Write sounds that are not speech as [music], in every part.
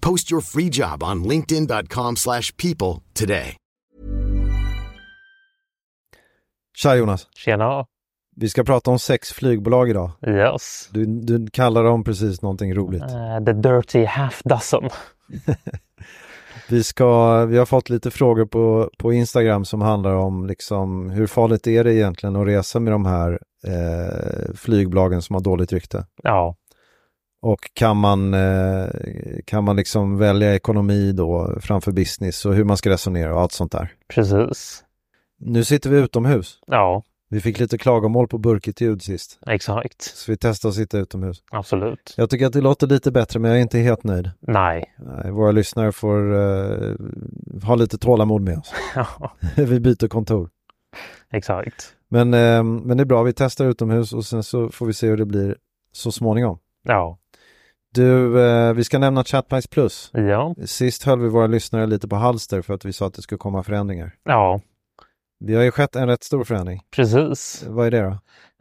Post your free job on linkedin.com/people slash people today. Tja Jonas, Tjena! vi ska prata om sex flygbolag idag. Yes. Du, du kallar dem precis någonting roligt. Eh, the Dirty Half Dozen. Vi, ska, vi har fått lite frågor på, på Instagram som handlar om liksom, hur farligt är det egentligen att resa med de här eh, flygbolagen som har dåligt rykte? Ja. Och kan man, eh, kan man liksom välja ekonomi då framför business och hur man ska resonera och allt sånt där. Precis. Nu sitter vi utomhus. Ja, Vi fick lite klagomål på burkigt ljud sist. exakt. Så vi testar att sitta utomhus. Absolut. Jag tycker att det låter lite bättre men jag är inte helt nöjd. Nej. Nej, Våra lyssnare får eh, ha lite tålamod med oss. [laughs] Ja, vi byter kontor. exakt. Men, eh, men det är bra, vi testar utomhus och sen så får vi se hur det blir så småningom. Ja. Du, eh, vi ska nämna Chatprice Plus. Ja. Sist höll vi våra lyssnare lite på halster för att vi sa att det skulle komma förändringar. Ja, Det har ju skett en rätt stor förändring. precis. Vad är det då?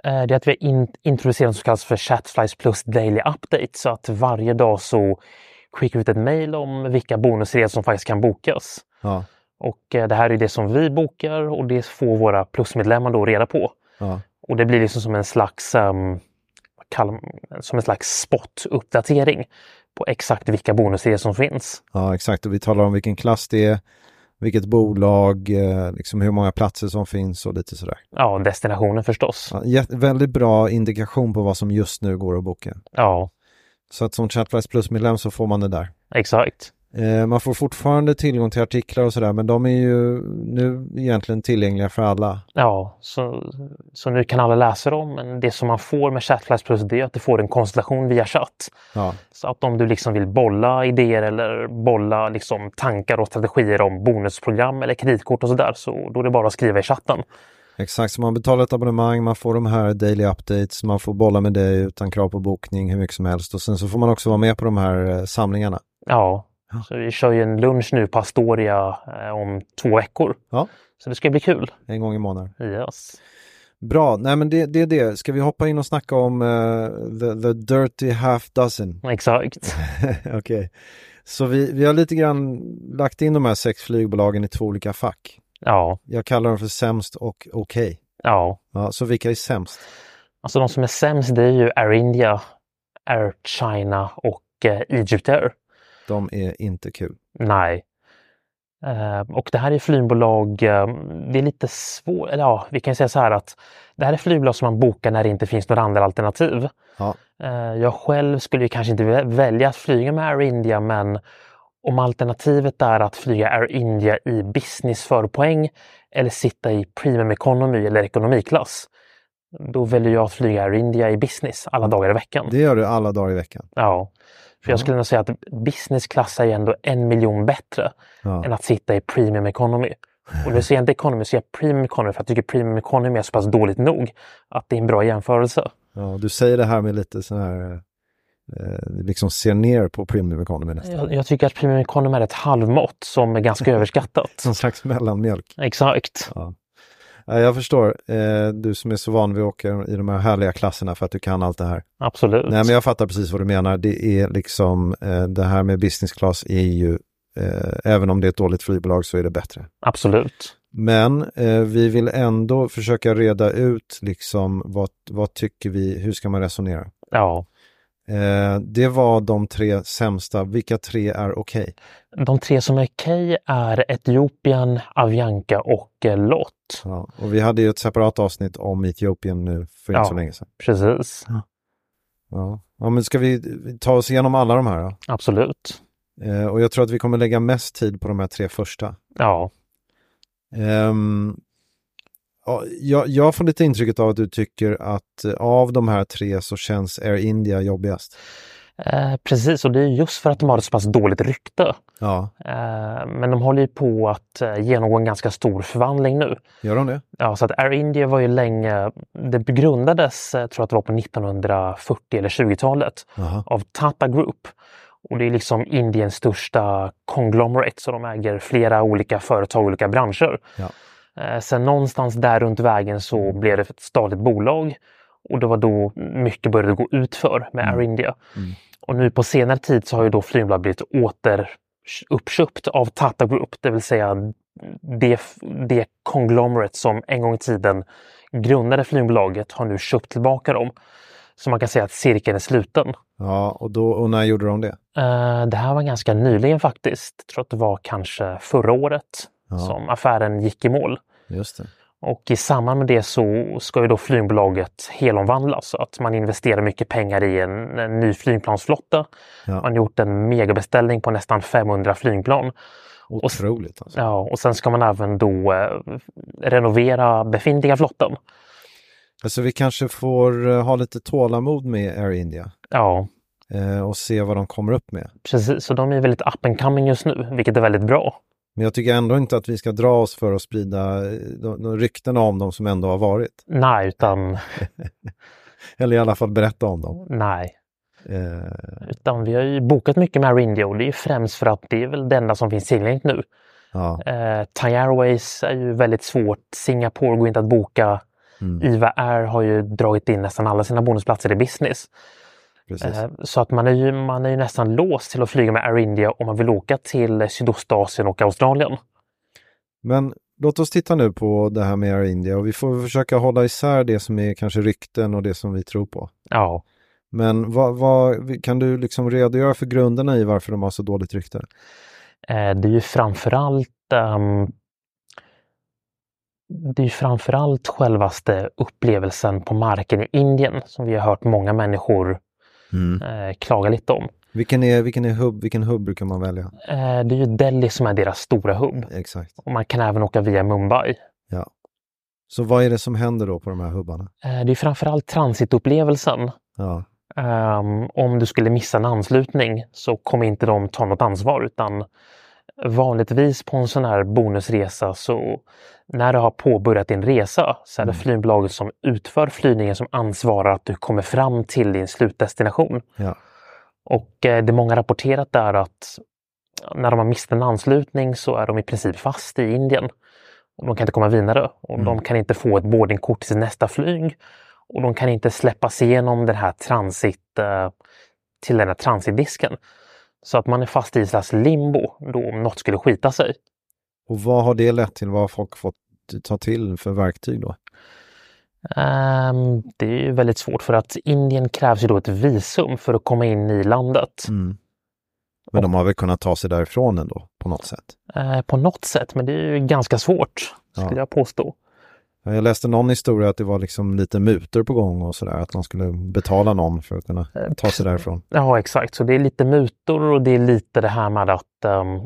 Eh, Det är att vi har in- introducerat något som kallas för Chatflies Plus Daily Update. Så att varje dag så skickar vi ut ett mejl om vilka bonusresor som faktiskt kan bokas. Ja, Och eh, det här är det som vi bokar och det får våra plusmedlemmar då reda på. ja, Och det blir liksom som en slags, ehm, vad kallar man, som en slags spot-uppdatering på exakt vilka bonusresor som finns. ja, exakt. Och vi talar om vilken klass det är, vilket bolag, eh, liksom hur många platser som finns och lite sådär. Ja, destinationen förstås. Ja, jä- väldigt bra indikation på vad som just nu går att boka. Ja, Så att som Chatflies Plus-medlem så får man det där. exakt. Eh, man får fortfarande tillgång till artiklar och sådär, men de är ju nu egentligen tillgängliga för alla. Ja, så, så nu kan alla läsa dem. Men det som man får med Chatflash Plus det är att du får en konstellation via chatt. Ja, Så att om du liksom vill bolla idéer eller bolla liksom tankar och strategier om bonusprogram eller kreditkort och sådär, så då är det bara att skriva i chatten. exakt. Så man betalar ett abonnemang, man får de här daily updates, man får bolla med dig utan krav på bokning hur mycket som helst och sen så får man också vara med på de här eh, samlingarna. Ja, Ja. så vi kör ju en lunch nu på Astoria eh, om två veckor. Ja. Så det ska bli kul. En gång i månaden. Yes. Bra, nej men det, det är det. Ska vi hoppa in och snacka om eh, the, the Dirty Half Dozen? [laughs] Exakt. Okej. Så vi, vi har lite grann lagt in de här sex flygbolagen i två olika fack. Ja, Jag kallar dem för sämst och okej. ja. Ja, så vilka är sämst? Alltså de som är sämst det är ju Air India, Air China och eh, Egypt Air. De är inte kul. Nej. Eh, och det här är flygbolag, eh, det är lite svårt, eller ja, vi kan säga så här att det här är flygbolag som man bokar när det inte finns några andra alternativ. Ja. Eh, jag själv skulle ju kanske inte vä- välja att flyga med Air India, men om alternativet är att flyga Air India i business för poäng eller sitta i premium economy eller ekonomiklass, då väljer jag att flyga Air India i business alla dagar i veckan. Det gör du alla dagar i veckan. Ja. Så jag skulle nog säga att business class är ju ändå en miljon bättre Ja. än att sitta i premium economy. Och nu säger jag inte economy, så jag säger premium economy för jag tycker premium economy är så pass dåligt nog att det är en bra jämförelse. Ja, du säger det här med lite sån här, eh, liksom ser ner på premium economy nästan. Jag, jag tycker att premium economy är ett halvmått som är [laughs] ganska överskattat. Som slags mellanmjölk. Exakt. Ja. Ja, Jag förstår, eh, du som är så van vid att åka i de här härliga klasserna för att du kan allt det här. Absolut. Nej, men jag fattar precis vad du menar. Det är liksom, eh, det här med business class är ju, eh, även om det är ett dåligt flygbolag så är det bättre. Absolut. Men eh, vi vill ändå försöka reda ut liksom vad, vad tycker vi, hur ska man resonera? Ja. Eh, det var de tre sämsta, vilka tre är okej? De tre som är okej är Etiopien, Avianca och eh, Lot. Ja, och vi hade ju ett separat avsnitt om Etiopien nu för inte Ja. så länge sedan. Precis. Ja. ja, men ska vi ta oss igenom alla de här då? Absolut. Eh, och jag tror att vi kommer lägga mest tid på de här tre första. Ja. Ehm, ja, jag, jag får lite intrycket av att du tycker att eh, av de här tre så känns Air India jobbigast. Eh, precis, och det är just för att de har ett så pass dåligt rykte. Ja, Eh, men de håller ju på att eh, genomgå en ganska stor förvandling nu. gör de det? Ja, så att Air India var ju länge, det grundades, eh, tror jag att det var på 1940 eller 20-talet, Jaha. av Tata Group. Och det är liksom Indiens största conglomerate, så de äger flera olika företag och olika branscher. Ja. Eh, Sen någonstans där runt vägen så blev det ett statligt bolag och det var då mycket började gå ut för med Air India. Och nu på senare tid så har ju då flygbolag blivit återuppköpt av Tata Group, det vill säga det, det conglomerate som en gång i tiden grundade flygbolaget har nu köpt tillbaka dem. Så man kan säga att cirkeln är sluten. Ja, och, då, och när gjorde de det? Eh, Det här var ganska nyligen faktiskt. Jag tror att det var kanske förra året Ja. som affären gick i mål. Just det. Och i samband med det så ska ju då flygbolaget helomvandlas. Så att man investerar mycket pengar i en, en ny flygplansflotta. Ja. Man har gjort en megabeställning på nästan 500 flygplan. Och, Otroligt alltså. ja, och sen ska man även då eh, renovera befintliga flottan. Alltså vi kanske får eh, ha lite tålamod med Air India Ja, eh, och se vad de kommer upp med. precis. Så de är väldigt up and coming just nu, vilket är väldigt bra. Men jag tycker ändå inte att vi ska dra oss för att sprida eh, de, de ryktena om dem som ändå har varit. Nej, utan Eller i alla fall berätta om dem. nej. Eh, Utan vi har ju bokat mycket med Arindia och det är ju främst för att det är väl det enda som finns tillgängligt nu. ja, Eh, Thai Airways är ju väldigt svårt. Singapore går inte att boka. IVA Air har ju dragit in nästan alla sina bonusplatser i business. precis. Eh, så att man är, ju, man är ju nästan låst till att flyga med Air India om man vill åka till eh, Sydostasien och Australien. Men låt oss titta nu på det här med Air India och vi får försöka hålla isär det som är kanske rykten och det som vi tror på. Ja. Men vad, vad, kan du liksom redogöra för grunderna i varför de har så dåligt rykte? Eh, Det är ju framförallt ehm, det är ju framförallt självaste upplevelsen på marken i Indien som vi har hört många människor eh, klaga lite om. Vilken, är, vilken, är hubb, vilken hubb brukar man välja? Eh, det är ju Delhi som är deras stora hubb Exakt. och man kan även åka via Mumbai. Ja. Så vad är det som händer då på de här hubbarna? Eh, det är framförallt transitupplevelsen. Ja, Ehm, om du skulle missa en anslutning så kommer inte de ta något ansvar utan vanligtvis på en sån här bonusresa så när du har påbörjat din resa så är det flygbolaget som utför flygningen som ansvarar att du kommer fram till din slutdestination. ja. Och eh, det många rapporterat är att när de har mist en anslutning så är de i princip fast i Indien. Och de kan inte komma vidare och de kan inte få ett boardingkort till nästa flyg. Och de kan inte släppas igenom den här transit, eh, till den här transitdisken. Så att man är fast i ett slags limbo då om något skulle skita sig. Och vad har det lett till? Vad har folk fått ta till för verktyg då? Ehm, det är ju väldigt svårt för att Indien krävs ju då ett visum för att komma in i landet. Men de har väl kunnat ta sig därifrån ändå på något sätt? Eh, på något sätt, men det är ju ganska svårt skulle Ja. jag påstå. Ja, Jag läste någon historia att det var liksom lite mutor på gång och sådär, att man skulle betala någon för att kunna ta sig därifrån. Ja, exakt. Så det är lite mutor och det är lite det här med att ehm,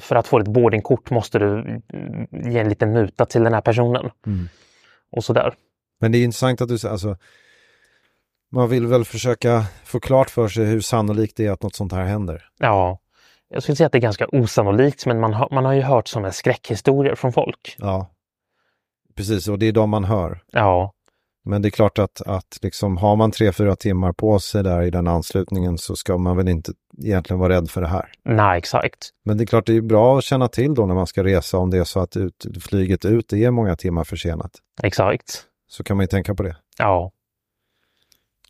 för att få ett boardingkort måste du mm, ge en liten muta till den här personen. Och sådär. Men det är intressant att du säger, alltså, man vill väl försöka få klart för sig hur sannolikt det är att något sånt här händer. Ja, jag skulle säga att det är ganska osannolikt, men man har, man har ju hört sådana skräckhistorier från folk. Ja, precis. Och det är de man hör. Ja, Men det är klart att, att liksom, har man tre, fyra timmar på sig där i den anslutningen så ska man väl inte egentligen vara rädd för det här. nej, exakt. Men det är klart, det är bra att känna till då när man ska resa om det är så att ut, flyget ut är många timmar försenat. Exakt. Så kan man ju tänka på det. Ja.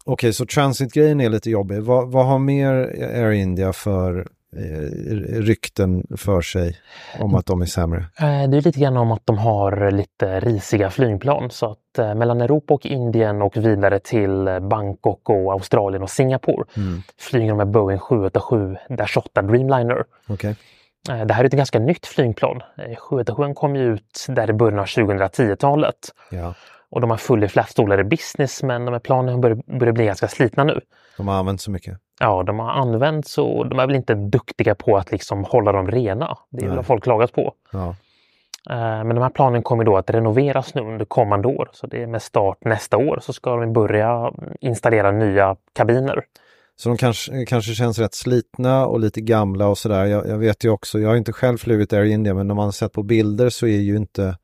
Okej, så transitgrejen är lite jobbig. Vad, vad har mer Air India för eh, rykten för sig om att de är sämre? Eh, Det är lite grann om att de har lite risiga flygplan så att eh, mellan Europa och Indien och vidare till eh, Bangkok och Australien och Singapore flyger de med Boeing 787 28 Dreamliner. Okej. Eh, Det här är ett ganska nytt flygplan. Eh, 787 kom ju ut där i början av 2010-talet Ja. och de har full i flera stolar i business men de här planen börjar, börjar bli ganska slitna nu. De har använt så mycket. Ja, de har använts och de är väl inte duktiga på att liksom hålla dem rena. Det är Nej. väl vad folk klagat på. Ja. Eh, Men de här planen kommer då att renoveras nu under kommande år. Så det är med start nästa år så ska de börja installera nya kabiner. Så de kanske, kanske känns rätt slitna och lite gamla och sådär. Jag, jag vet ju också, jag har inte själv flugit Air India, men om man har sett på bilder så är ju inte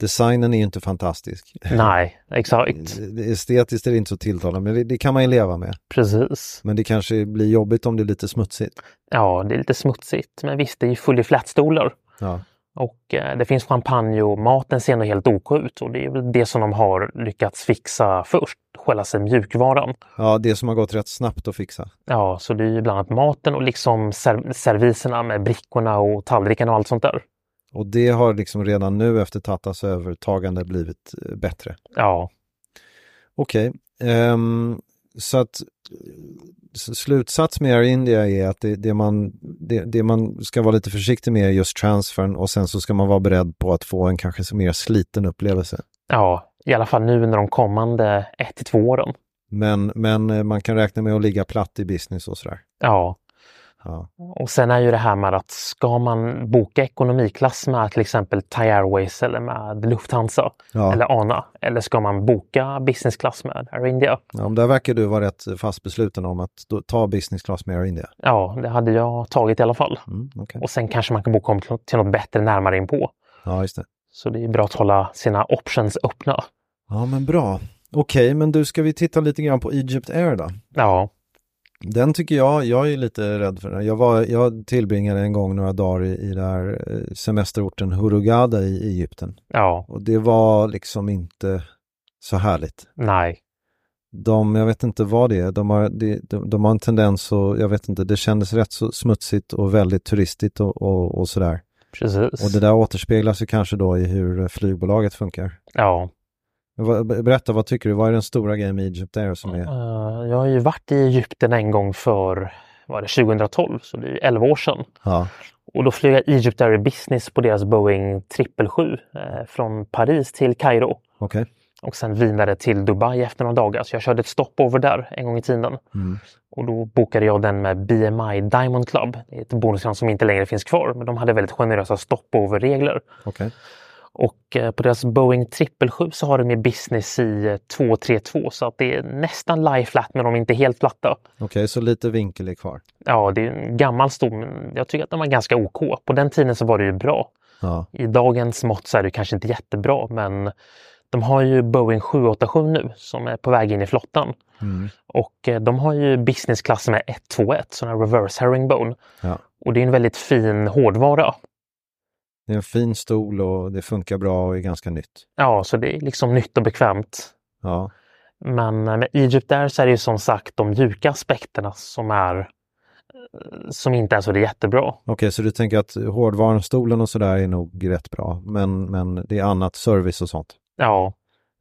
designen är ju inte fantastisk. Nej, exakt. [laughs] Estetiskt är det inte så tilltalande, men det, det kan man ju leva med. Precis. Men det kanske blir jobbigt om det är lite smutsigt. Ja, det är lite smutsigt. Men visst, det är ju full i flätstolar. Ja, Och eh, det finns champagne och maten ser nog helt OK ut. Och det är väl det som de har lyckats fixa först. Själva sig mjukvaran. ja det som har gått rätt snabbt att fixa. Ja, så det är ju bland annat maten och liksom serv- serviserna med brickorna och tallrikarna och allt sånt där. Och det har liksom redan nu efter Tatas övertagande blivit eh, bättre. Ja, Okej, ehm, så att s- slutsats med Air India är att det, det, man, det, det man ska vara lite försiktig med är just transfern och sen så ska man vara beredd på att få en kanske så mer sliten upplevelse. Ja, i alla fall nu under de kommande 1 till 2 åren. Men, men eh, man kan räkna med att ligga platt i business och sådär. Ja, Ja, och sen är ju det här med att ska man boka ekonomiklass med till exempel Thai Airways eller med Lufthansa ja. eller ANA eller ska man boka businessklass med Air India? ja men där verkar du vara rätt fast besluten om att då, ta business class med Air India. Ja, det hade jag tagit i alla fall. Mm, okej. Och sen kanske man kan boka om till- till något bättre närmare inpå. Ja, just det. Så det är bra att hålla sina options öppna. Ja, men bra. Okej, men du, ska vi titta lite grann på Egypt Air då? Ja, Den tycker jag, jag är lite rädd för den. Jag, var, jag tillbringade en gång några dagar i, i där eh, semesterorten Hurghada i Egypten. ja, Och det var liksom inte så härligt. nej, De, jag vet inte vad det är, de har, de, de, de har en tendens och jag vet inte, det kändes rätt så smutsigt och väldigt turistigt och, och, och sådär. precis. Och det där återspeglas ju kanske då i hur eh, flygbolaget funkar. Ja. Men vad- Berätta, vad tycker du? Vad är den stora grejen med Egypt Air som är... Eh, Jag har ju varit i Egypten en gång för var det 2012, så det är ju 11 år sedan. Ja, Och då flög jag Egypt Air Business på deras Boeing 777 eh, från Paris till Kairo okej. och sen vidare till Dubai efter några dagar. Så jag körde ett stopover där en gång i tiden. Mm. Och då bokade jag den med BMI Diamond Club. Det är ett bonusland som inte längre finns kvar, men de hade väldigt generösa stopoverregler. Okej. Och eh, på deras Boeing 777 så har de ju business i eh, 232 så att det är nästan lie flat men de är inte helt platta. Okej, så lite vinkel är kvar. Ja, det är en gammal stol, men jag tycker att den var ganska OK. På den tiden så var det ju bra. Ja, I dagens mått så är det kanske inte jättebra, men de har ju Boeing 787 nu som är på väg in i flottan. Mm. Och eh, de har ju businessklass med 121, sån här reverse herringbone. Ja. Och det är en väldigt fin hårdvara. det är en fin stol och det funkar bra och är ganska nytt. Ja, så det är liksom nytt och bekvämt. Ja, Men eh, med Egypt Air så är det ju som sagt de mjuka aspekterna som är eh, som inte är så jättebra. okej, så du tänker att hårdvarustolen och sådär är nog rätt bra, men, men det är annat, service och sånt. Ja,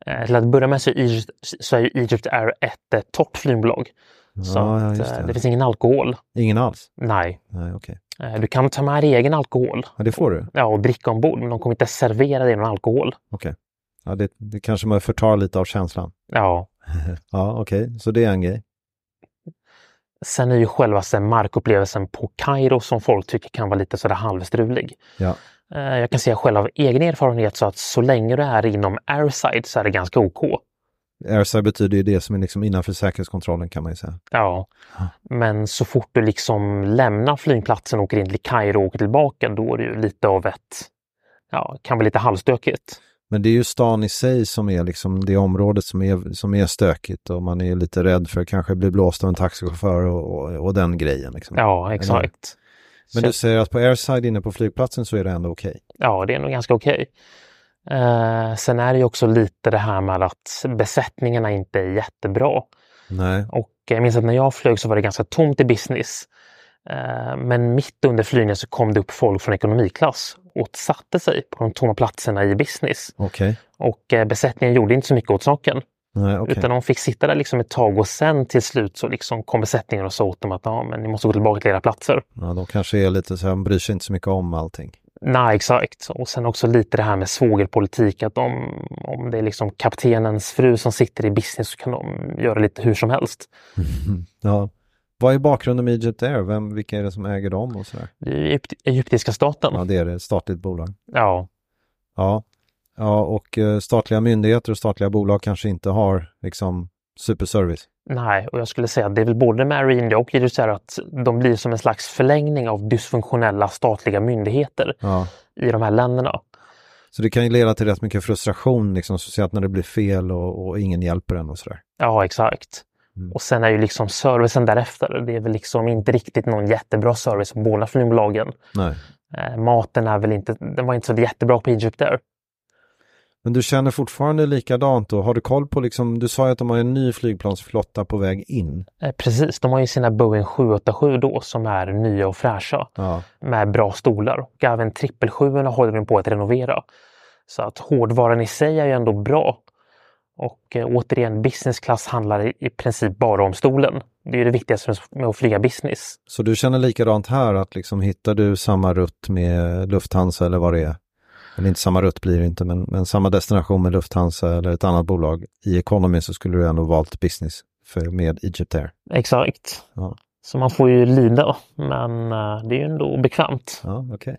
eh, till att börja med så är Egypt, så är ju Egypt Air ett eh, torrt flygbolag. Så ja, ja, att, just eh, det. det finns ingen alkohol. Ingen alls? Nej, Nej, okej. Eh, du kan ta med dig egen alkohol Ja, det får du. ja, och dricka ombord, men de kommer inte servera dig någon alkohol. Okej. Ja, det, det kanske man förtar lite av känslan. [laughs] Ja, Ja, okej, så det är en grej. sen är ju själva sen markupplevelsen på Kairo som folk tycker kan vara lite sådär halvstrulig. Ja, Eh, Jag kan säga själv av egen erfarenhet så att så länge du är inom airside så är det ganska OK. Airside betyder ju det som är liksom innanför säkerhetskontrollen kan man ju säga. Ja, men så fort du liksom lämnar flygplatsen och åker in till Kairo och åker tillbaka, då är det ju lite av ett, ja, kan bli lite halvstökigt. Men det är ju stan i sig som är liksom det området som är, som är stökigt och man är ju lite rädd för att kanske bli blåst av en taxichaufför och, och, och den grejen. Liksom. Ja, exakt. Men du säger att på airside inne på flygplatsen så är det ändå okej. Ja, det är nog ganska okej. Eh, sen är det ju också lite det här med att besättningarna inte är jättebra. Nej. Och jag minns att när jag flög så var det ganska tomt i business. Eh, Men mitt under flygningen så kom det upp folk från ekonomiklass och satte sig på de tomma platserna i business. Okej. Och eh, besättningen gjorde inte så mycket åt saken. Nej, okej. Utan de fick sitta där liksom ett tag och sen till slut så liksom kom besättningen och sa åt dem att ja, men ni måste gå tillbaka till era platser. Ja, de kanske är lite så här, de bryr sig inte så mycket om allting. Nej, exakt. Och sen också lite det här med svågerpolitik. Att om, om det är liksom kaptenens fru som sitter i business så kan de göra lite hur som helst. Ja. Vad är bakgrunden med Egypt Air? Vem, vilka är det som äger dem och sådär? Det är ju Egypt- egyptiska staten. Ja, det är det. Ett Statligt bolag. Ja, Ja. Ja, och eh, statliga myndigheter och statliga bolag kanske inte har liksom superservice. nej. Och jag skulle säga att det är väl både med Air India och Egypt Air att de blir som en slags förlängning av dysfunktionella statliga myndigheter Ja. i de här länderna. Så det kan ju leda till rätt mycket frustration, liksom socialt när det blir fel och, och ingen hjälper en och sådär. Ja, exakt. Mm. Och sen är ju liksom servicen därefter. Det är väl liksom inte riktigt någon jättebra service på båda flygbolagen. Nej. Eh, maten är väl inte, den var inte så jättebra på Egypt Air. Men du känner fortfarande likadant då? Har du koll på liksom, du sa ju att de har en ny flygplansflotta på väg in. Eh, Precis, de har ju sina Boeing 787 då som är nya och fräscha Ja. med bra stolar. Och även 777 håller de på att renovera. Så att hårdvaran i sig är ju ändå bra. Och eh, återigen, business class handlar i, i princip bara om stolen. Det är ju det viktigaste med att flyga business. Så du känner likadant här att liksom hittar du samma rutt med Lufthansa eller vad det är? Eller inte samma rutt blir det inte, men, men samma destination med Lufthansa eller ett annat bolag i Economy så skulle du ändå valt business för, med Egypt Air. Exakt. Ja. Så man får ju lida, men eh, det är ju ändå bekvämt. Ja, okej.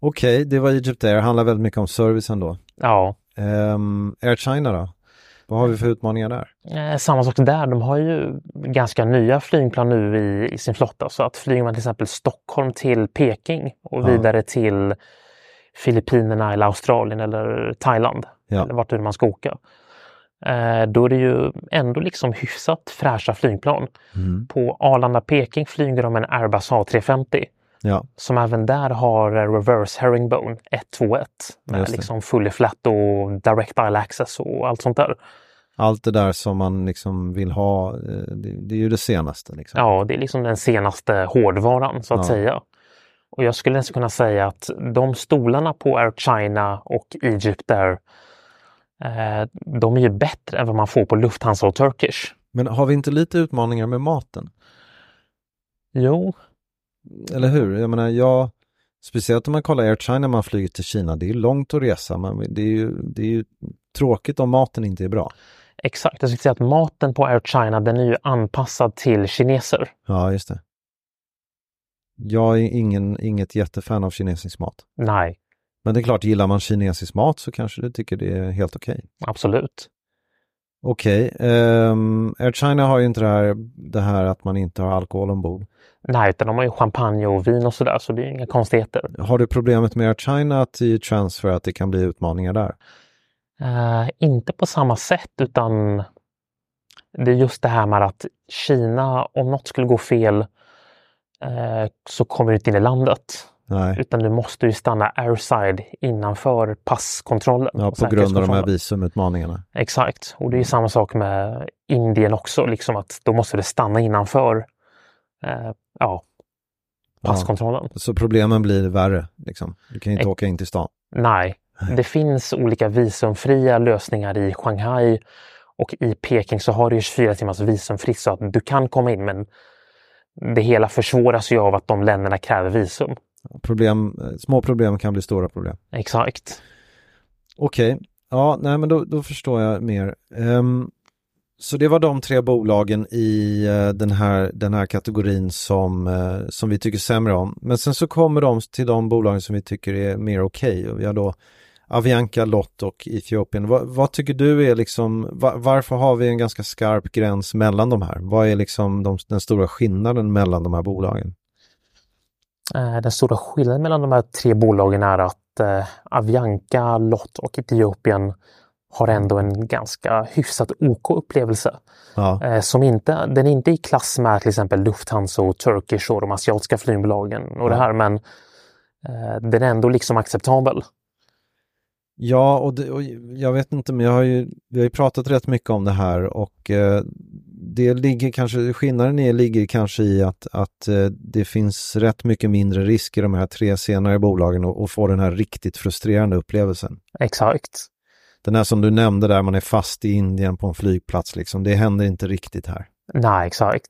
Okej, det var Egypt Air, handlar väldigt mycket om servicen då. Ja. Ehm, Air China då? Vad har vi för utmaningar där? Eh, Samma sak där, de har ju ganska nya flygplan nu i, i sin flotta. Så att flyger man till exempel Stockholm till Peking och Ja. vidare till Filippinerna eller Australien eller Thailand, Ja. eller vart nu man ska åka. eh, Då är det ju ändå liksom hyfsat fräscha flygplan. Mm. På Arlanda-Peking flyger de en Airbus A350 Ja, som även där har eh, reverse herringbone 121 med Just det. liksom fully flat och direct aisle access och allt sånt där. allt det där som man liksom vill ha, eh, det, det är ju det senaste. Liksom. Ja, det är liksom den senaste hårdvaran så att Ja. säga. Och jag skulle nästan kunna säga att de stolarna på Air China och Egypt Air, eh, de är ju bättre än vad man får på Lufthansa och Turkish. Men har vi inte lite utmaningar med maten? Jo, Eller hur? Jag menar, jag, speciellt om man kollar Air China när man flyger till Kina, det är ju långt att resa, men det är ju, det är ju tråkigt om maten inte är bra. exakt. Jag skulle säga att maten på Air China den är ju anpassad till kineser. Ja, just det. Jag är ingen, inget jättefan av kinesisk mat. Nej, Men det är klart, gillar man kinesisk mat så kanske du tycker det är helt okej. absolut. Okej, ehm, Air China har ju inte det här, det här att man inte har alkohol ombord. Nej, utan de har ju champagne och vin och sådär, så det är ju inga konstigheter. Har du problemet med Air China att i transfer att det kan bli utmaningar där? Eh, inte på samma sätt utan det är just det här med att Kina, om något skulle gå fel eh, så kommer du inte in i landet. Nej, Utan du måste ju stanna airside innanför passkontrollen. ja, och på grund av de här Mm. säkerhetskontrollen. visumutmaningarna. Exakt, och det är ju samma sak med Indien också, liksom att då måste du stanna innanför eh, ja, passkontrollen. Så problemen blir värre, liksom. Du kan ju inte Ex- åka in till stan. Nej, det finns olika visumfria lösningar i Shanghai och i Peking så har du ju 24 timmars visumfritt så att du kan komma in men det hela försvåras ju av att de länderna kräver visum. Problem, eh, små problem kan bli stora problem. Exakt. Okej, ja, nej men då, då förstår jag mer. Ehm, så det var de tre bolagen i eh, den, här, den här kategorin som, eh, som vi tycker sämre om. Men sen så kommer de till de bolagen som vi tycker är mer okej. Och vi har då Avianca, Lott och Ethiopian. Vad, vad tycker du är liksom, va- varför har vi en ganska skarp gräns mellan de här? Vad är liksom de, den stora skillnaden mellan de här bolagen? Eh, Den stora skillnaden mellan de här tre bolagen är att eh, Avianca, Lott och Etiopien har ändå en ganska hyfsat OK upplevelse. Ja, Eh, som inte, den är inte i klass med till exempel Lufthansa och Turkish och de asiatiska flygbolagen och det här, men eh, den är ändå liksom acceptabel. ja och, det, och jag vet inte, men jag har ju, vi har ju pratat rätt mycket om det här och eh, det ligger kanske, skillnaden är, ligger kanske i att, att eh, det finns rätt mycket mindre risk i de här tre senare bolagen och, och få den här riktigt frustrerande upplevelsen. Exakt. Den här som du nämnde där, man är fast i Indien på en flygplats liksom, det händer inte riktigt här. Nej, exakt.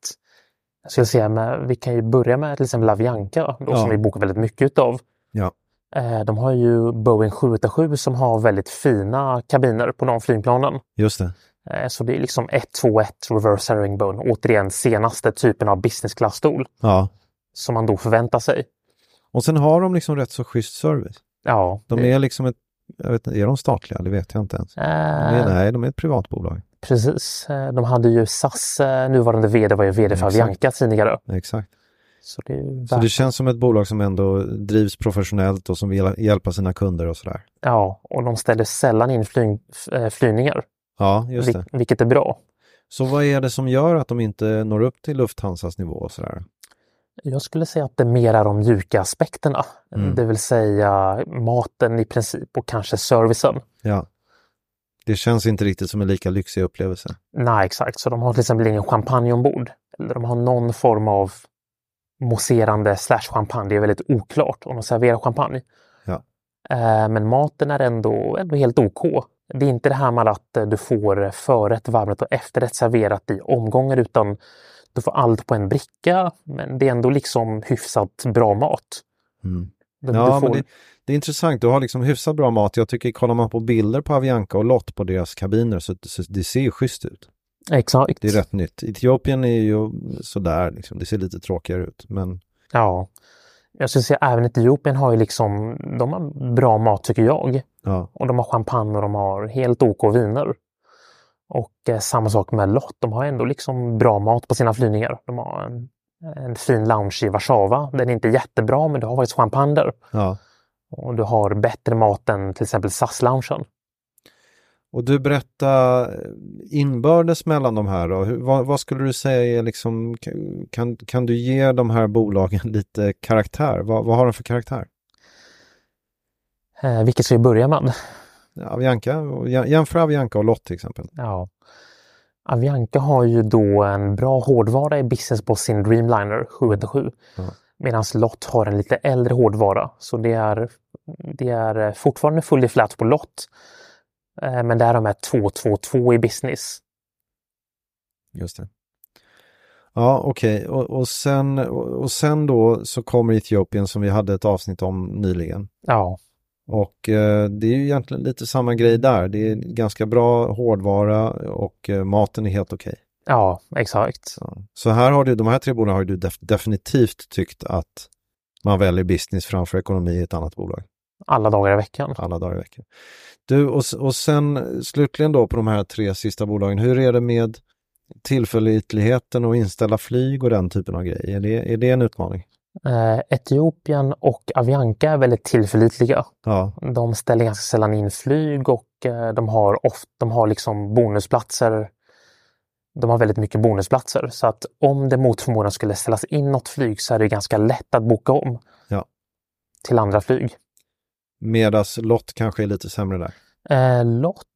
Jag skulle säga, men vi kan ju börja med till exempel Avianca då, Ja. som vi bokar väldigt mycket utav. Ja. Eh, De har ju Boeing 787 som har väldigt fina kabiner på de flygplanen. Just det. Eh, Så det är liksom 121 reverse herringbone, återigen senaste typen av business class-stol Ja. som man då förväntar sig. Och sen har de liksom rätt så schysst service. Ja, De det- är liksom ett, jag vet inte, är de statliga? Det vet jag inte ens. Eh, Nej, nej de är ett privatbolag. Precis. Eh, De hade ju SAS eh, nuvarande vd var ju vd för Exakt. Avianca tidigare. Exakt. Så det är ju Så värt- det känns som ett bolag som ändå drivs professionellt och som vill hjälpa sina kunder och sådär. Ja, och de ställer sällan in flyg, f- eh, flygningar, Ja, just vil- det. vilket är bra. Så vad är det som gör att de inte når upp till Lufthansas nivå och sådär? Jag skulle säga att det mer är de mjuka aspekterna, Mm. det vill säga maten i princip och kanske servicen. Ja. Det känns inte riktigt som en lika lyxig upplevelse. Nej, exakt. Så de har till exempel ingen champagne ombord. Eller de har någon form av mousserande slash champagne. Det är väldigt oklart om de serverar champagne. Ja. Eh, Men maten är ändå, ändå helt OK. Det är inte det här med att eh, du får förrätt, varmrätt och efterrätt serverat i omgångar utan du får allt på en bricka. Men det är ändå liksom hyfsat bra mat. Mm. Du, Ja, du får, men det, det är intressant. Du har liksom hyfsat bra mat. Jag tycker, kollar man på bilder på Avianca och Lott på deras kabiner så, så det ser ju schysst ut. Exakt. Det är rätt nytt. Etiopien är ju sådär, liksom. det ser lite tråkigare ut. Men Ja. Jag skulle säga även Etiopien har ju liksom, de har bra mat tycker jag. ja, Och de har champagne och de har helt OK viner. Och eh, samma sak med Lott. De har ändå liksom bra mat på sina flygningar. De har en, en fin lounge i Warszawa. Den är inte jättebra, men du har faktiskt champagne där. ja. Och du har bättre mat än till exempel SAS-loungen. Och du berättade inbördes mellan de här då. Hur, vad, vad skulle du säga är liksom, kan, kan du ge de här bolagen [laughs] lite karaktär? Vad, vad har de för karaktär? Eh, vilket ska vi börja med? Avianca, och jäm- jämför Avianca och Lott till exempel. Ja. Avianca har ju då en bra hårdvara i business på sin Dreamliner 787. Ja. Medan Lott har en lite äldre hårdvara. Så det är, det är eh, fortfarande full i flat på Lott. Eh, Men där har de här 222 i business. Just det. Ja, okej. Och, och, sen, och, och sen då så kommer Etiopien som vi hade ett avsnitt om nyligen. Ja, Och eh, det är ju egentligen lite samma grej där. Det är ganska bra hårdvara och eh, maten är helt okej. ja exakt. Så. så här har du, de här tre bolagen har ju du def- definitivt tyckt att man väljer business framför ekonomi i ett annat bolag Alla dagar i veckan. alla dagar i veckan. Du, och, s- och sen slutligen då på de här tre sista bolagen, hur är det med tillförlitligheten och inställa flyg och den typen av grejer? Är det, är det en utmaning? Eh, Etiopien och Avianca är väldigt tillförlitliga. Ja, De ställer ganska sällan in flyg och eh, de har, oft, de har liksom bonusplatser. De har väldigt mycket bonusplatser så att om det mot förmodan skulle ställas in något flyg så är det ganska lätt att boka om Ja. till andra flyg. medas Lott kanske är lite sämre där. Eh, Lott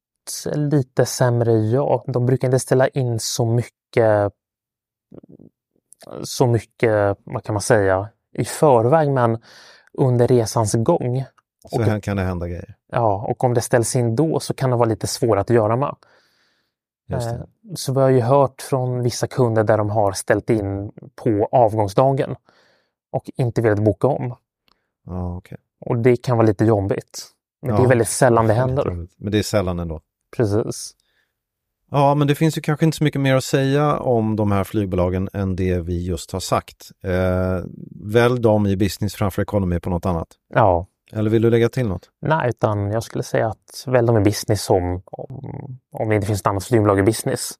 är lite sämre, ja. De brukar inte ställa in så mycket, så mycket, vad kan man säga, i förväg men under resans gång. Så Och- här kan det hända grejer. Ja, och om det ställs in då så kan det vara lite svårt att göra med. Just Eh, det. Så vi har ju hört från vissa kunder där de har ställt in på avgångsdagen och inte velat boka om. Ja, okej. Och det kan vara lite jobbigt. Men det Ja. är väldigt sällan det händer. Men det är sällan ändå. Precis. Ja, men det finns ju kanske inte så mycket mer att säga om de här flygbolagen än det vi just har sagt. Eh, välj dem i business framför ekonomi på något annat. Ja, Eller vill du lägga till något? Nej, utan jag skulle säga att välj dem i business om, om, om det inte finns något annat flygbolag i business.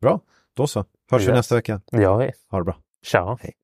Bra, då så. Hörs vi Yes. nästa vecka. Det gör vi. Ha det bra. Ciao! Hej.